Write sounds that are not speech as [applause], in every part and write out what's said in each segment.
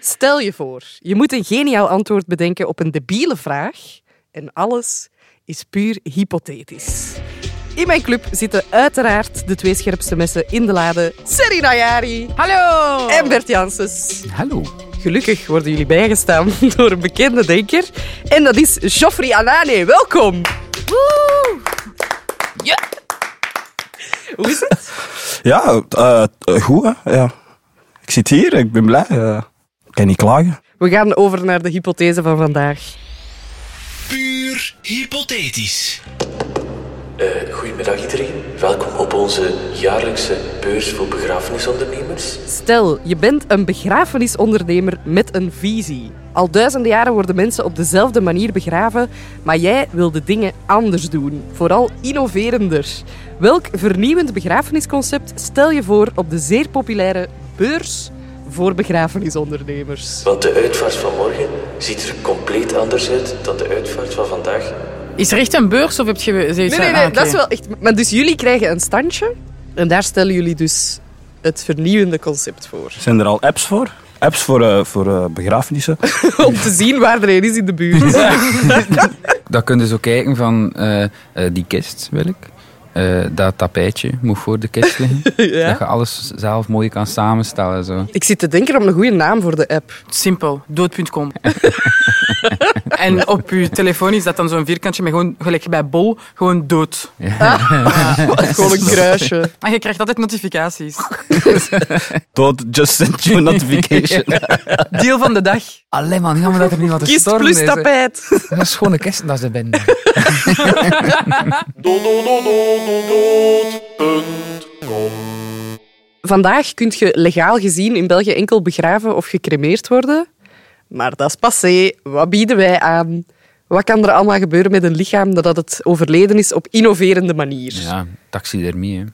Stel je voor, je moet een geniaal antwoord bedenken op een debiele vraag. En alles is puur hypothetisch. In mijn club zitten uiteraard de twee scherpste messen in de lade. Serena Jari Hallo! en Bert Janssens. Hallo. Gelukkig worden jullie bijgestaan [laughs] door een bekende denker. En dat is Joffrey Anane. Welkom. Woe! Ja. Hoe is het? Ja, eh, eh, goed hè. Ja. Ik zit hier, ik ben blij. eh. ik kan niet klagen. We gaan over naar de hypothese van vandaag. Puur hypothetisch. Eh, goedemiddag iedereen. Welkom op onze jaarlijkse beurs voor begrafenisondernemers. Stel, je bent een begrafenisondernemer met een visie. Al duizenden jaren worden mensen op dezelfde manier begraven, maar jij wil de dingen anders doen, vooral innoverender. Welk vernieuwend begrafenisconcept stel je voor op de zeer populaire beurs voor begrafenisondernemers? Want de uitvaart van morgen ziet er compleet anders uit dan de uitvaart van vandaag. Is er echt een beurs of heb je zoiets Nee, van- nee, ah, nee, oké. dat is wel echt. Maar dus jullie krijgen een standje en daar stellen jullie dus het vernieuwende concept voor. [laughs] Zijn er al apps voor? Apps voor, eh, voor eh, begrafenissen? Om te zien waar er een is in de buurt. Dan kun je zo kijken van eh, eh, die kist wil ik. Eh, dat tapijtje moet voor de kist liggen. [laughs] Ja. Dat je alles zelf mooi kan [laughs] samenstellen. Zo. Ik zit te denken om een goede naam voor de app. Simpel, [laughs] dood.com. en op je telefoon is dat dan zo'n vierkantje met gewoon, gelijk bij bol, gewoon dood. [laughs] Gewoon een kruisje. En je krijgt altijd notificaties. Dood, just send [laughs] you a notification. Deel van de dag. Allee man, jammer dat er niet wat Kist plus tapijt. Dat is gewoon een kist dat ze binnen. Vandaag kun je legaal gezien in België enkel begraven of gecremeerd worden. Maar dat is passé. Wat bieden wij aan? Wat kan er allemaal gebeuren met een lichaam nadat het overleden is op innoverende manier? [laughs] Ja, taxidermie. Hè.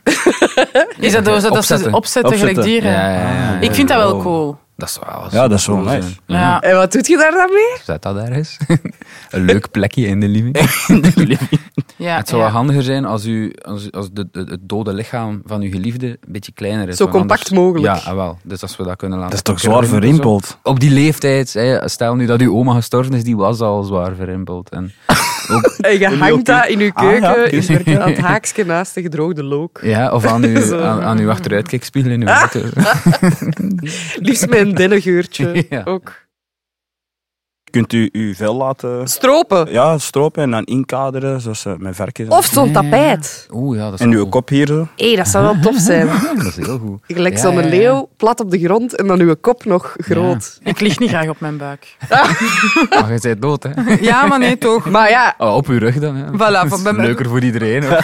Is dat dus dat ze Opzetten. opzetten, gelijk Opzetten. dieren? Ja, ja, ja, Ah. Mhm. ja. Ik vind dat wel Oh. cool. Dat is wel Ja, dat is wel cool, nice. [laughs] zo. Ja. Ja. En wat doet je daar dan mee? Zet dat ergens. [laughs] een leuk plekje in de living. Ja, het zou ja. wel handiger zijn als, u, als, als de, de- het dode lichaam van uw geliefde een beetje kleiner is. Zo want compact anders- mogelijk. Ja, ah, wel. Dus als we dat kunnen laten... Dat is toch zwaar verrimpeld. verrimpeld? Op die leeftijd, hè, stel nu dat uw oma gestorven is, die was al zwaar verrimpeld. En ook, En je hangt dat in je Ah, ja, keuken, [laughs] dus- in het- aan het haakje naast de gedroogde look. ja, of [laughs] aan uw, Zo. aan, aan uw achteruitkijkspiegel in uw Ah. auto. [laughs] Liefst met een dennengeurtje Ja. ook. Kunt u uw vel laten Stropen. ja, stropen en dan inkaderen, zoals eh, met verkjes. Of zo'n Ja, ja, ja. tapijt. Oeh, ja, dat is En uw cool. kop hier zo. Hé, dat zou wel tof zijn. Ja, dat is heel goed. Gelijk Ja, zo'n ja, ja. leeuw, plat op de grond en dan uw kop nog groot. Ik lig niet graag op mijn buik. Maar je bent dood, hè. [laughs] Ja, maar nee, toch. Maar ja, Ah, op uw rug dan, ja. Voilà, Dat is bij mij- leuker voor iedereen. [laughs] Hoor.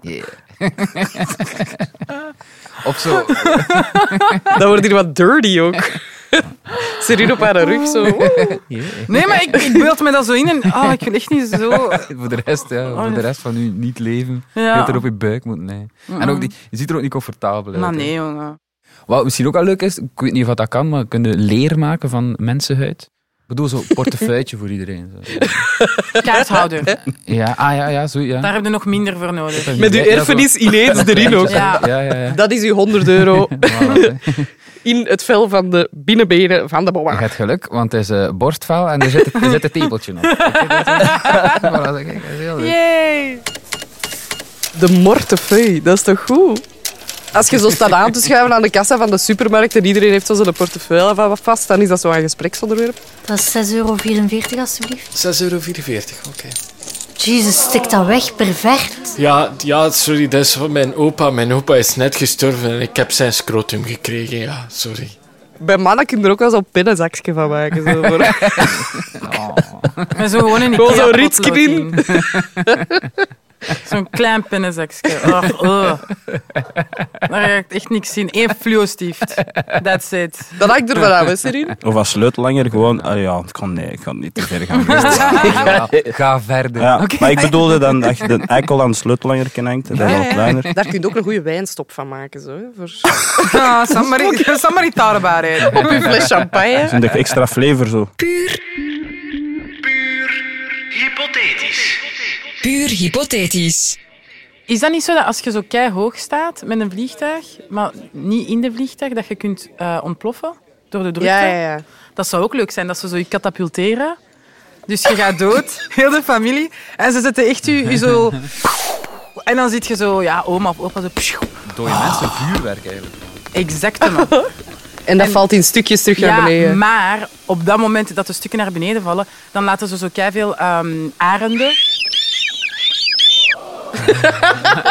Yeah. [laughs] Of zo. dan wordt hier wat dirty ook. [laughs] Zit hier op haar rug zo. Nee, maar ik, ik beeld me dat zo in en oh, ik wil echt niet zo... Voor de rest, ja, voor de rest van u niet leven. Je Ja. Mm. hebt er op je buik moeten liggen. En ook die, je ziet er ook niet comfortabel uit. Maar hè. nee, jongen. Wat misschien ook wel leuk is, ik weet niet of dat kan, maar kunnen leer maken van mensenhuid. Ik bedoel, zo'n portefeuille voor iedereen. Zo. [laughs] Kaarthouder. Ja, ah ja, ja, zo, ja. Daar heb je nog minder voor nodig. [laughs] Met uw erfenis ineens erin ook. [laughs] Ja. Ja, ja, ja. Dat is uw 100 [laughs] euro Voilà. [laughs] in het vel van de binnenbenen van de Je boa. hebt geluk, want het is eh, borstvel en er zit, er zit een tepeltje [laughs] op. Voilà, kijk, dat is heel leuk. Yay! De mortefeuille, dat is toch goed? Als je zo staat aan te schuiven aan de kassa van de supermarkt en iedereen heeft zo zijn portefeuille van wat vast, dan is dat zo'n gespreksonderwerp. Dat is 6,44 euro, alsjeblieft. 6,44 euro, oké. Jezus, stik dat weg, pervert. Ja, ja, sorry, dat is van mijn opa. Mijn opa is net gestorven en ik heb zijn scrotum gekregen, ja, sorry. Bij mannen kun je er ook wel zo'n pinnenzakje van maken. Zo. [laughs] voor- Met zo gewoon een Gewoon Ikea zo'n rietje potlood in. [laughs] Zo'n klein pinnenzakje. Oh, oh. Daar heb ik echt niks in. Eén fluo-stift. That's it. Dat hangt er vanaf, hè, Serine? Of als sleutelanger gewoon. ah ja, ik kan, nee, ik kan niet te ver gaan. [laughs] Ja, ga verder. Ja, Maar ik bedoelde dan dat je de eikel aan de sleutelanger kan hangt. Dat is Ja, al ja. kleiner. Daar kun je ook een goede wijnstop van maken. Zo, hè, voor [laughs] Ah, somebody, somebody thought about it. op je fles champagne. Zo'n extra flavor zo. Hypothetisch. Puur hypothetisch. Is dat niet zo dat als je zo kei hoog staat met een vliegtuig, maar niet in de vliegtuig, dat je kunt eh, ontploffen door de drukte? Ja, ja, ja. Dat zou ook leuk zijn, dat ze zo je katapulteren. Dus je gaat dood, [laughs] heel de familie. En ze zetten echt u, u zo... En dan zit je zo, ja, oma of opa zo... Dode mensen vuurwerk eigenlijk. Exactement. En dat valt in stukjes terug naar Ja, beneden. maar op dat moment dat de stukken naar beneden vallen, dan laten ze zo keiveel ehm [laughs] arenden.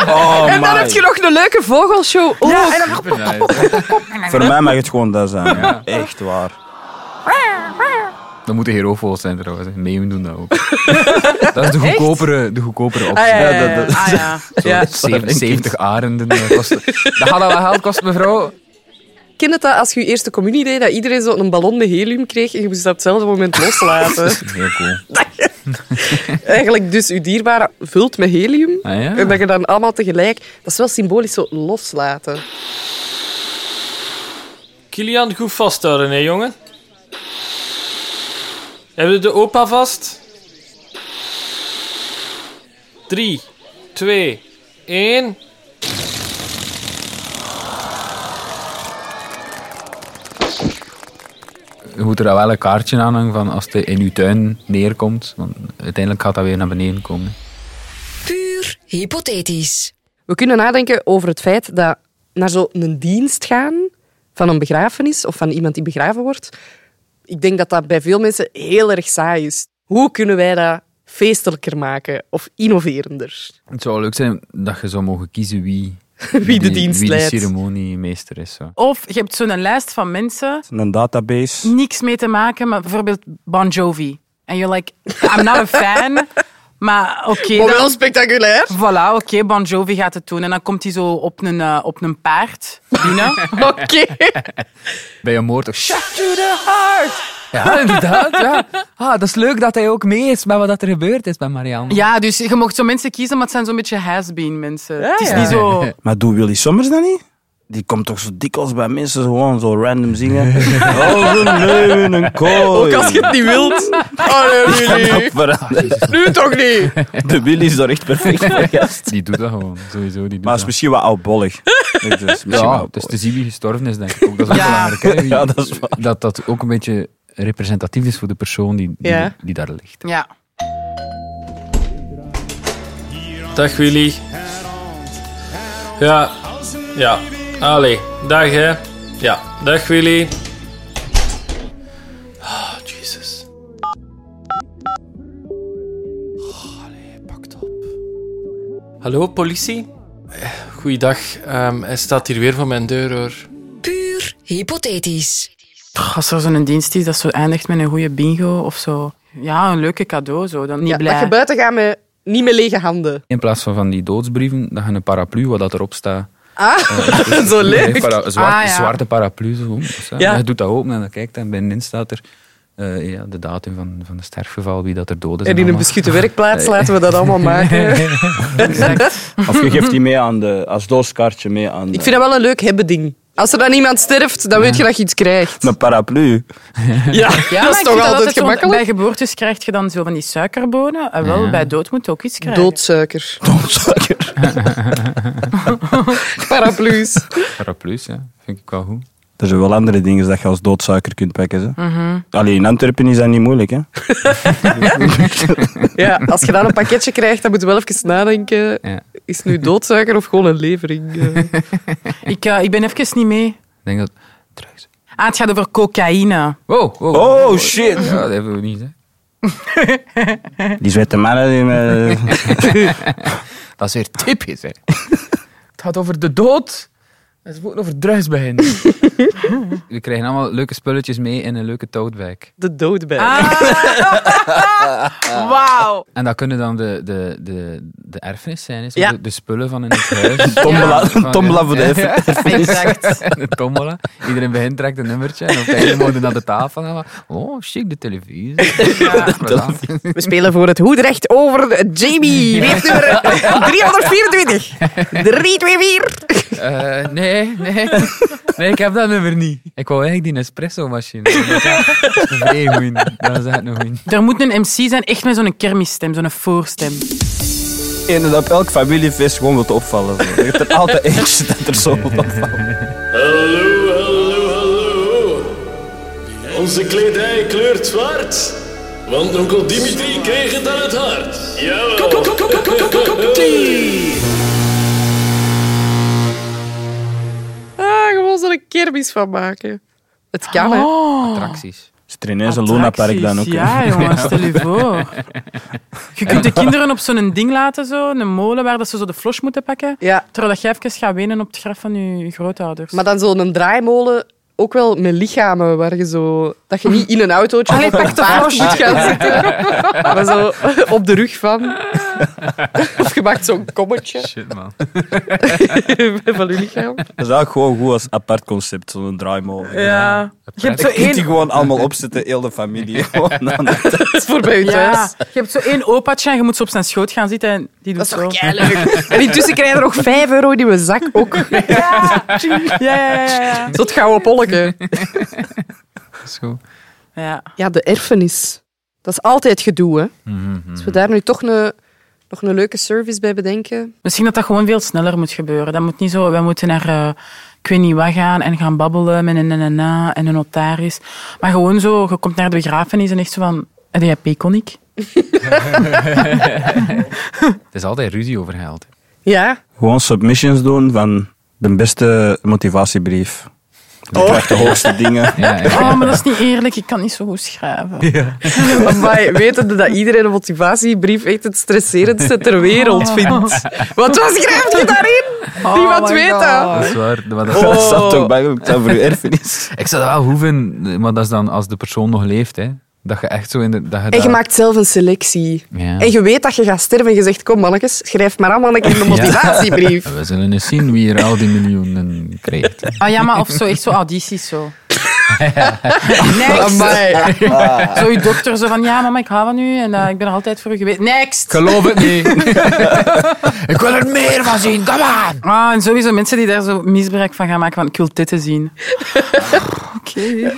Oh, en dan heb je nog een leuke vogelshow. Oh, Ja, en dan... Voor mij mag het gewoon dat zijn. [laughs] Echt waar. Dat moeten herovogels zijn trouwens. hè. Meeuwen doen dat [laughs] ook. dat is de goedkopere, de goedkopere optie. ja, ja, ja. dat- dat- Ah ja. Zo, Ja. 70, 70 arenden eh, kosten. Dat had al wat geld kost, mevrouw. Ken het dat als je je eerste communie deed, dat iedereen zo een ballon de helium kreeg en je moest dat op hetzelfde moment loslaten? [laughs] Heel cool. Eigenlijk dus je dierbare vult met helium. Ah, ja? En dat je dan allemaal tegelijk... Dat is wel symbolisch zo loslaten. Kilian, goed vasthouden, hè, jongen. Hebben we de opa vast? 3, 2, 1. Je moet er dan wel een kaartje aan hangen van als het in uw tuin neerkomt. Want uiteindelijk gaat dat weer naar beneden komen. Puur hypothetisch. We kunnen nadenken over het feit dat naar zo'n dienst gaan van een begrafenis of van iemand die begraven wordt, ik denk dat dat bij veel mensen heel erg saai is. Hoe kunnen wij dat feestelijker maken of innoverender? Het zou leuk zijn dat je zou mogen kiezen wie, Wie de die- dienst wie de leidt. ceremoniemeester is. Zo. Of je hebt zo'n lijst van mensen, Een database. niks mee te maken, maar bijvoorbeeld Bon Jovi. En you're like, I'm not a [laughs] fan, maar oké. Maar dat- wel spectaculair. Voilà, oké, Bon Jovi gaat het doen. En dan komt hij zo op een, eh, op een paard binnen. [laughs] Oké. Bij een moord. Shut to the heart! Ja, inderdaad. Ja. Ah, dat is leuk dat hij ook mee is met wat er gebeurd is met Marianne. Ja, dus je mocht zo mensen kiezen, maar het zijn zo'n beetje has-been mensen. het is Ah, ja. niet [laughs] zo... Maar doe Willy Sommers dat niet? Die komt toch zo dikwijls bij mensen gewoon zo random [laughs] zingen. Als een leeuw in een kooi. Ook als je het niet wilt. Allee, Willy. [laughs] Nu toch niet. De Willy is daar echt perfect voor. [laughs] Die doet dat gewoon, sowieso. Die doet Maar het is dat. misschien wat oudbollig. Dus misschien wel Ja, oudbollig. het is te zien wie gestorven is, denk ik ook. Dat is ook Ja. belangrijk. hè, wie- [laughs] Ja, dat is waar. dat dat ook een beetje representatief is voor de persoon die, die, Ja. die daar ligt. Ja. Dag Willy. Ja, ja. Allee, dag hè. Ja, dag Willy. Ah, Jesus. Ah, allee, pakt op. Hallo politie? Eh, Goeiedag, Ehm, hij staat hier weer voor mijn deur hoor. Puur hypothetisch. Pff, Als er zo'n dienst is dat zo eindigt met een goede bingo of zo. Ja, een leuke cadeau zo. Dan niet Ja, blij. dat je buiten gaat met niet met lege [laughs] handen. In plaats van van die doodsbrieven, dan gaan een paraplu, wat dat erop staat. Ah, eh, dus- Zo leuk. Een para- een zwart- Ah, ja. een zwarte paraplu. Zo, hoe is dat? Ja. Je doet dat open en dan kijkt en binnenin staat er eh, ja, de datum van, van de sterfgeval, wie dat er dood is. en in een allemaal. beschutte werkplaats laten we dat [laughs] allemaal maken. Of je geeft die mee aan de, als dooskaartje mee aan de, Ik vind dat wel een leuk hebben ding. Als er dan iemand sterft, dan weet je dat je iets krijgt. een paraplu. Ja, Ja, dat maar is ik toch vind dat altijd zo'n- gemakkelijk? Bij geboortes krijg je dan zo van die suikerbonen. En wel, Ja. bij dood moet je ook iets krijgen. Doodsuiker. Doodszakker. [laughs] Paraplu's. Paraplu's, ja. Vind ik wel goed. Er zijn wel andere dingen dat je als doodsuiker kunt pakken. Hè. Mhm. Alleen in Antwerpen is dat niet moeilijk. Hè. Ja, als je dan een pakketje krijgt, dan moet je wel even nadenken. Ja. Is het nu doodsuiker of gewoon een levering? Eh, Ik, eh, ik ben even niet mee. Ik denk dat... Drugs. Ah, het gaat over cocaïne. Wow, wow. Oh shit! Ja, dat hebben we niet, hè. Die zwette mannen die met... [laughs] Dat is weer typisch, hè. Het gaat over de dood. En ze moeten over drugs beginnen. We krijgen allemaal leuke spulletjes mee in een leuke toadbag. De doodbij. Ah. [laughs] Wauw. En dat kunnen dan de, de, de, de erfenis zijn, hè. Zo Ja. de, de spullen van in het huis. Tombola, Van- een tombola voor de Ja, eff- Exact. Een tombola. Iedereen begint trekt een nummertje en op het einde moeten we naar de tafel gaan. Oh, chic, de televisie. We spelen voor het hoedrecht over Jamie. Wie heeft nummer eh, 324? 324. Eh, nee, nee. Nee, ik heb dat nummer niet. Ik wou eigenlijk die espresso-machine. Dat is echt een goeie. Dat is echt een goeie. Er moet een MC zijn, echt met zo'n kermisstem, zo'n voorstem. ene dat op elk familiefeest gewoon wilt opvallen. Zo. Er is er altijd [laughs] eentje dat er zo op opvalt. Hallo, hallo, hallo. Onze kledij kleurt zwart. Want onkel Dimitri kreeg het aan het hart. Jawel. Ah, gewoon zo'n kermis van maken. Oh. Het kan, hè. Attracties. Zit er ineens een lunapark dan ook? hè? Ja, jongen, stel [laughs] je voor. Je kunt de kinderen op zo'n ding laten, zo, een molen waar dat ze zo de flos moeten pakken. Terwijl dat jij even gaat wenen op het graf van je grootouders. Maar dan zo'n draaimolen, ook wel met lichamen, waar je zo... Dat je niet in een [laughs] autootje Allee, of op pak een de paard vos. moet gaan zitten. maar zo op de rug van. of je maakt zo'n kommetje Shit, man. [laughs] van je lichaam. Dat is eigenlijk gewoon goed als apart concept, zo'n draaimolen. Ja. Je hebt zo Je kunt die één... gewoon allemaal opzetten, heel de [laughs] familie. Gewoon aan de- Dat is voor bij je Ja, thuis. je hebt zo één opaatje en je moet zo op zijn schoot gaan zitten en die doet Dat is zo. toch leuk. En intussen krijg je er nog 5 euro in mijn zak ook. Ja, ja, ja, ja. Tot gouden polleke. Dat is goed. ja. Ja, de erfenis. Dat is altijd gedoe, hè. Als we daar nu toch een, nog een leuke service bij bedenken. Misschien dat dat gewoon veel sneller moet gebeuren. Dat moet niet zo, wij moeten naar eh ik weet niet wat gaan en gaan babbelen met een en na en een notaris. Maar gewoon zo, je komt naar de begrafenis en echt zo van, heb jij peconic? Het is altijd ruzie over geld. Ja. Gewoon submissions doen van de beste motivatiebrief. Je krijgt de [laughs] hoogste dingen. Ja, ja. Oh, maar dat is niet eerlijk, ik kan niet zo goed schrijven. Amai, wetende dat iedereen een motivatiebrief echt het stresserendste ter wereld vindt. Wat was schrijft je daarin? Niemand my weet dat. Dat is waar. Maar dat- [laughs] Dat Oh. staat toch bij, dat voor uw erfenis. Ik zou dat wel hoeven, maar dat is dan als de persoon nog leeft. Hè. Dat je echt zo in de... Dat je En je daar- maakt zelf een selectie. Ja. En je weet dat je gaat sterven en je zegt, kom mannetjes, schrijf maar allemaal een keer een motivatiebrief. We zullen eens zien wie er al die miljoenen krijgt. Ah ja, maar of zo, echt zo audities zo. Next. Amai. Zo je dokter zo van, ja mama, ik hou van u en eh, ik ben er altijd voor u geweest. Next! Geloof het niet. [laughs] ik wil er meer van zien, kom aan. Ah, en sowieso mensen die daar zo misbruik van gaan maken, van ik wil dit te zien. Oké.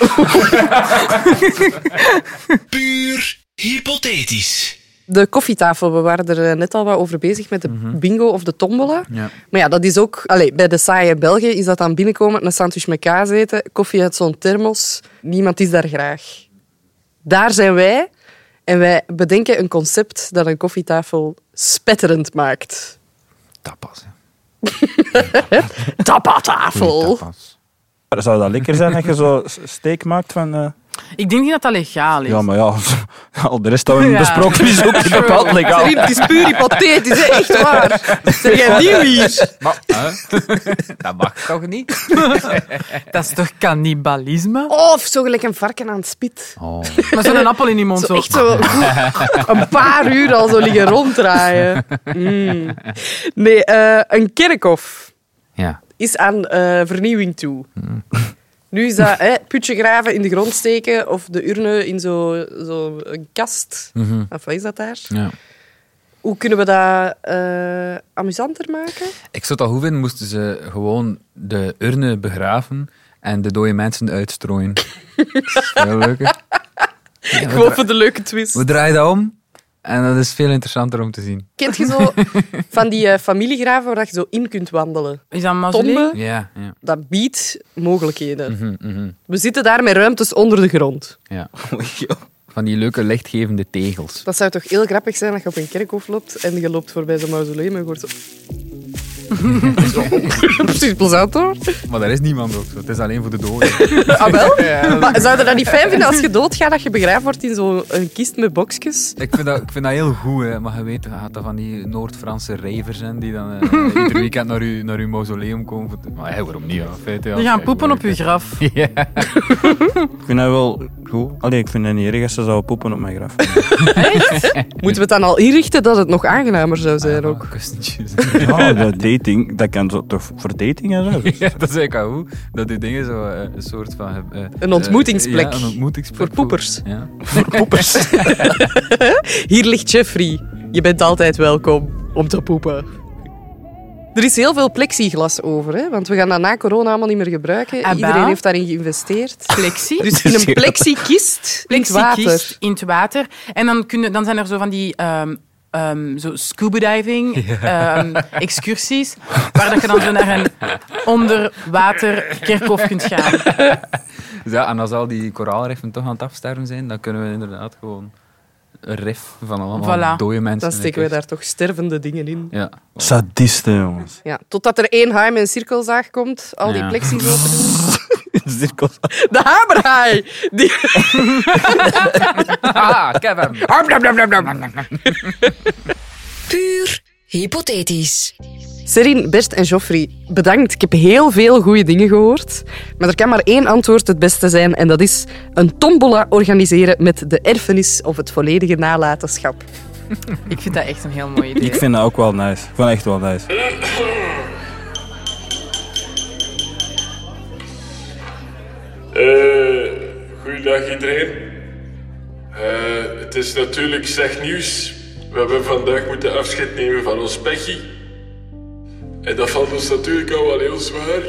Puur hypothetisch. De koffietafel, we waren er eh, net al wat over bezig met de bingo of de tombola. Ja. Maar ja, dat is ook... Allee, bij de saaie Belgen is dat dan binnenkomen, een sandwich met kaas eten, koffie uit zo'n thermos. Niemand is daar graag. Daar zijn wij. En wij bedenken een concept dat een koffietafel spetterend maakt. Tapas. hè. Tapatafel. Tapas. Zou dat lekker zijn dat je zo steek maakt van... eh, Ik denk niet dat dat legaal is. Ja, maar ja, [laughs] al de rest dat we Ja. besproken is ook niet bepaald legaal. Rien, Het is puur hypothetisch, hè. echt [laughs] waar. Zeg jij nieuw hier? Maar, [laughs] hè? dat mag toch niet? Dat is toch cannibalisme? Of zo gelijk een varken aan het spit. Oh. Maar zo'n appel in die mond Zo zo. [laughs] echt zo een paar uur al zo liggen ronddraaien. Mm. Nee, eh, een kerkhof Ja. is aan eh, vernieuwing toe. Mm. Nu is dat hè, putje graven in de grond steken of de urne in zo'n zo een kast. Mhm. Of wat is dat daar? ja. Hoe kunnen we dat eh, amusanter maken? Ik zou dat hoeven, moesten ze gewoon de urne begraven en de dode mensen [laughs] uitstrooien. Dat is veel leuker. Ja, we, Gewoon dra- voor de leuke twist. we draaien dat om en dat is veel interessanter om te zien. Kent je zo van die eh, familiegraven waar je zo in kunt wandelen? Is dat een mausoleum? Tombe, Ja, ja. dat biedt mogelijkheden. Mhm, mhm. We zitten daar met ruimtes onder de grond. ja. Van die leuke lichtgevende tegels. Dat zou toch heel grappig zijn dat je op een kerkhof loopt en je loopt voorbij zo'n mausoleum en je hoort zo... Zo. [laughs] Precies plezant hoor. Maar daar is niemand ook zo. Het is alleen voor de doden. Ah wel? Maar zou je dat niet fijn vinden als je doodgaat dat je begraven wordt in zo'n kist met boxjes? Ik vind, dat, ik vind dat heel goed, hè. maar je weet dat dat van die Noord-Franse rijvers zijn die dan eh, ieder weekend naar uw, naar uw mausoleum komen. voor te- Maar hey, waarom niet? Ja, feit, ja. Die gaan Kijk, poepen op leuk, [laughs] uw graf. hè. Ja. Ik vind dat wel goed. Allee, ik vind het niet erg als ze zouden poepen op mijn graf. Moeten we het dan al inrichten dat het nog aangenamer zou zijn [laughs] ook? Kustentjes. [laughs] Ja, dat [laughs] dating, dat kan zo, toch voor dating en zo. Ja, dat is eigenlijk wel goed. Dat die dingen zo eh, een soort van... eh, Een ontmoetingsplek. eh, ja, een ontmoetingsplek. Voor poepers. Ja. Hier ligt Jeffrey. Je bent altijd welkom om te poepen. Er is heel veel plexiglas over, hè? want we gaan dat na corona allemaal niet meer gebruiken. Ah, Iedereen wel. heeft daarin geïnvesteerd. Plexi. Dus in een plexikist in het Plexi water. in het water. En dan, kunnen, dan zijn er zo van die ehm, ehm, zo scuba diving ehm, excursies, waar dat je dan zo naar een onderwater kerkhof kunt gaan. Dus Ja, en als al die koraalriffen toch aan het afsterven zijn, dan kunnen we inderdaad gewoon een rif van allemaal Voilà. dode mensen. Dan in de steken we kist. daar toch stervende dingen in. Ja. Sadisten, jongens. [laughs] Ja, totdat er één haai met een cirkelzaag komt, al die Ja. plexis open doen. Cirkels. [laughs] De hamerhaai! Die... [laughs] ah, ik heb Puur hypothetisch. Serine, Bert en Joffrey, bedankt. Ik heb heel veel goede dingen gehoord. Maar er kan maar één antwoord het beste zijn. En dat is een tombola organiseren met de erfenis of het volledige nalatenschap. Ik vind dat echt een heel mooi idee. Ik vind dat ook wel nice. Ik vond het echt wel nice. Eh, goeiedag iedereen. Eh, het is natuurlijk slecht nieuws. We hebben vandaag moeten afscheid nemen van ons Peggy. En dat valt ons natuurlijk al wel heel zwaar.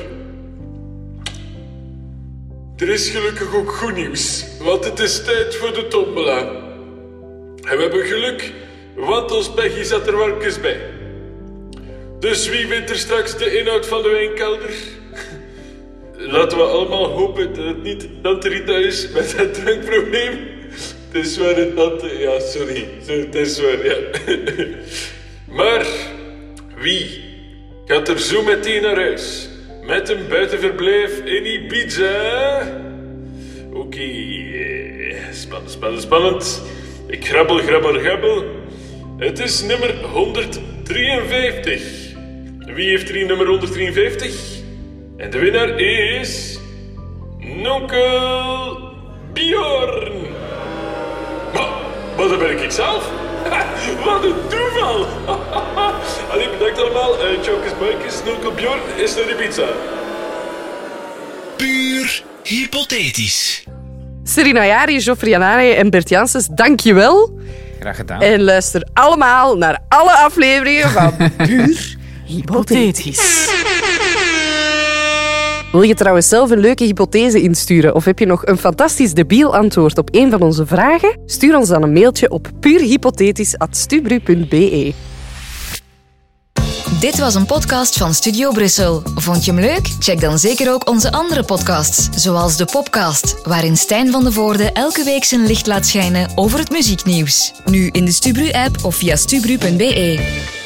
Er is gelukkig ook goed nieuws, want het is tijd voor de tombola. En we hebben geluk, want ons Peggy zat er warmpjes bij. Dus wie wint er straks de inhoud van de wijnkelder? Laten we allemaal hopen dat het niet Tante Rita is met het drankprobleem. Het is waar, het Tante... Ja, sorry. Zo, Het is waar, ja. [laughs] Maar wie gaat er zo meteen naar huis? Met een buitenverblijf in Ibiza? Oké, eh, spannend, spannend, spannend. Ik grabbel, grabbel, grabbel. Het is nummer 153. Wie heeft er hier nummer 153? En de winnaar is. Nonkel Bjorn! Maar, maar dat ben ik ik zelf! [laughs] Wat een toeval! [laughs] Allee, bedankt allemaal. Eh Chokers Buikers, Nonkel Bjorn is naar de pizza. Puur hypothetisch. Serine Ayari, Joffrey Anane en Bert Janssens, dank je wel. Graag gedaan. En luister allemaal naar alle afleveringen [laughs] van Puur Hypothetisch. Wil je trouwens zelf een leuke hypothese insturen of heb je nog een fantastisch debiel antwoord op een van onze vragen? Stuur ons dan een mailtje op puurhypothetisch.stubru.be. Dit was een podcast van Studio Brussel. Vond je hem leuk? Check dan zeker ook onze andere podcasts, zoals de Popcast, waarin Stijn van de Voorde elke week zijn licht laat schijnen over het muzieknieuws. Nu in de Stubru-app of via stubru.be.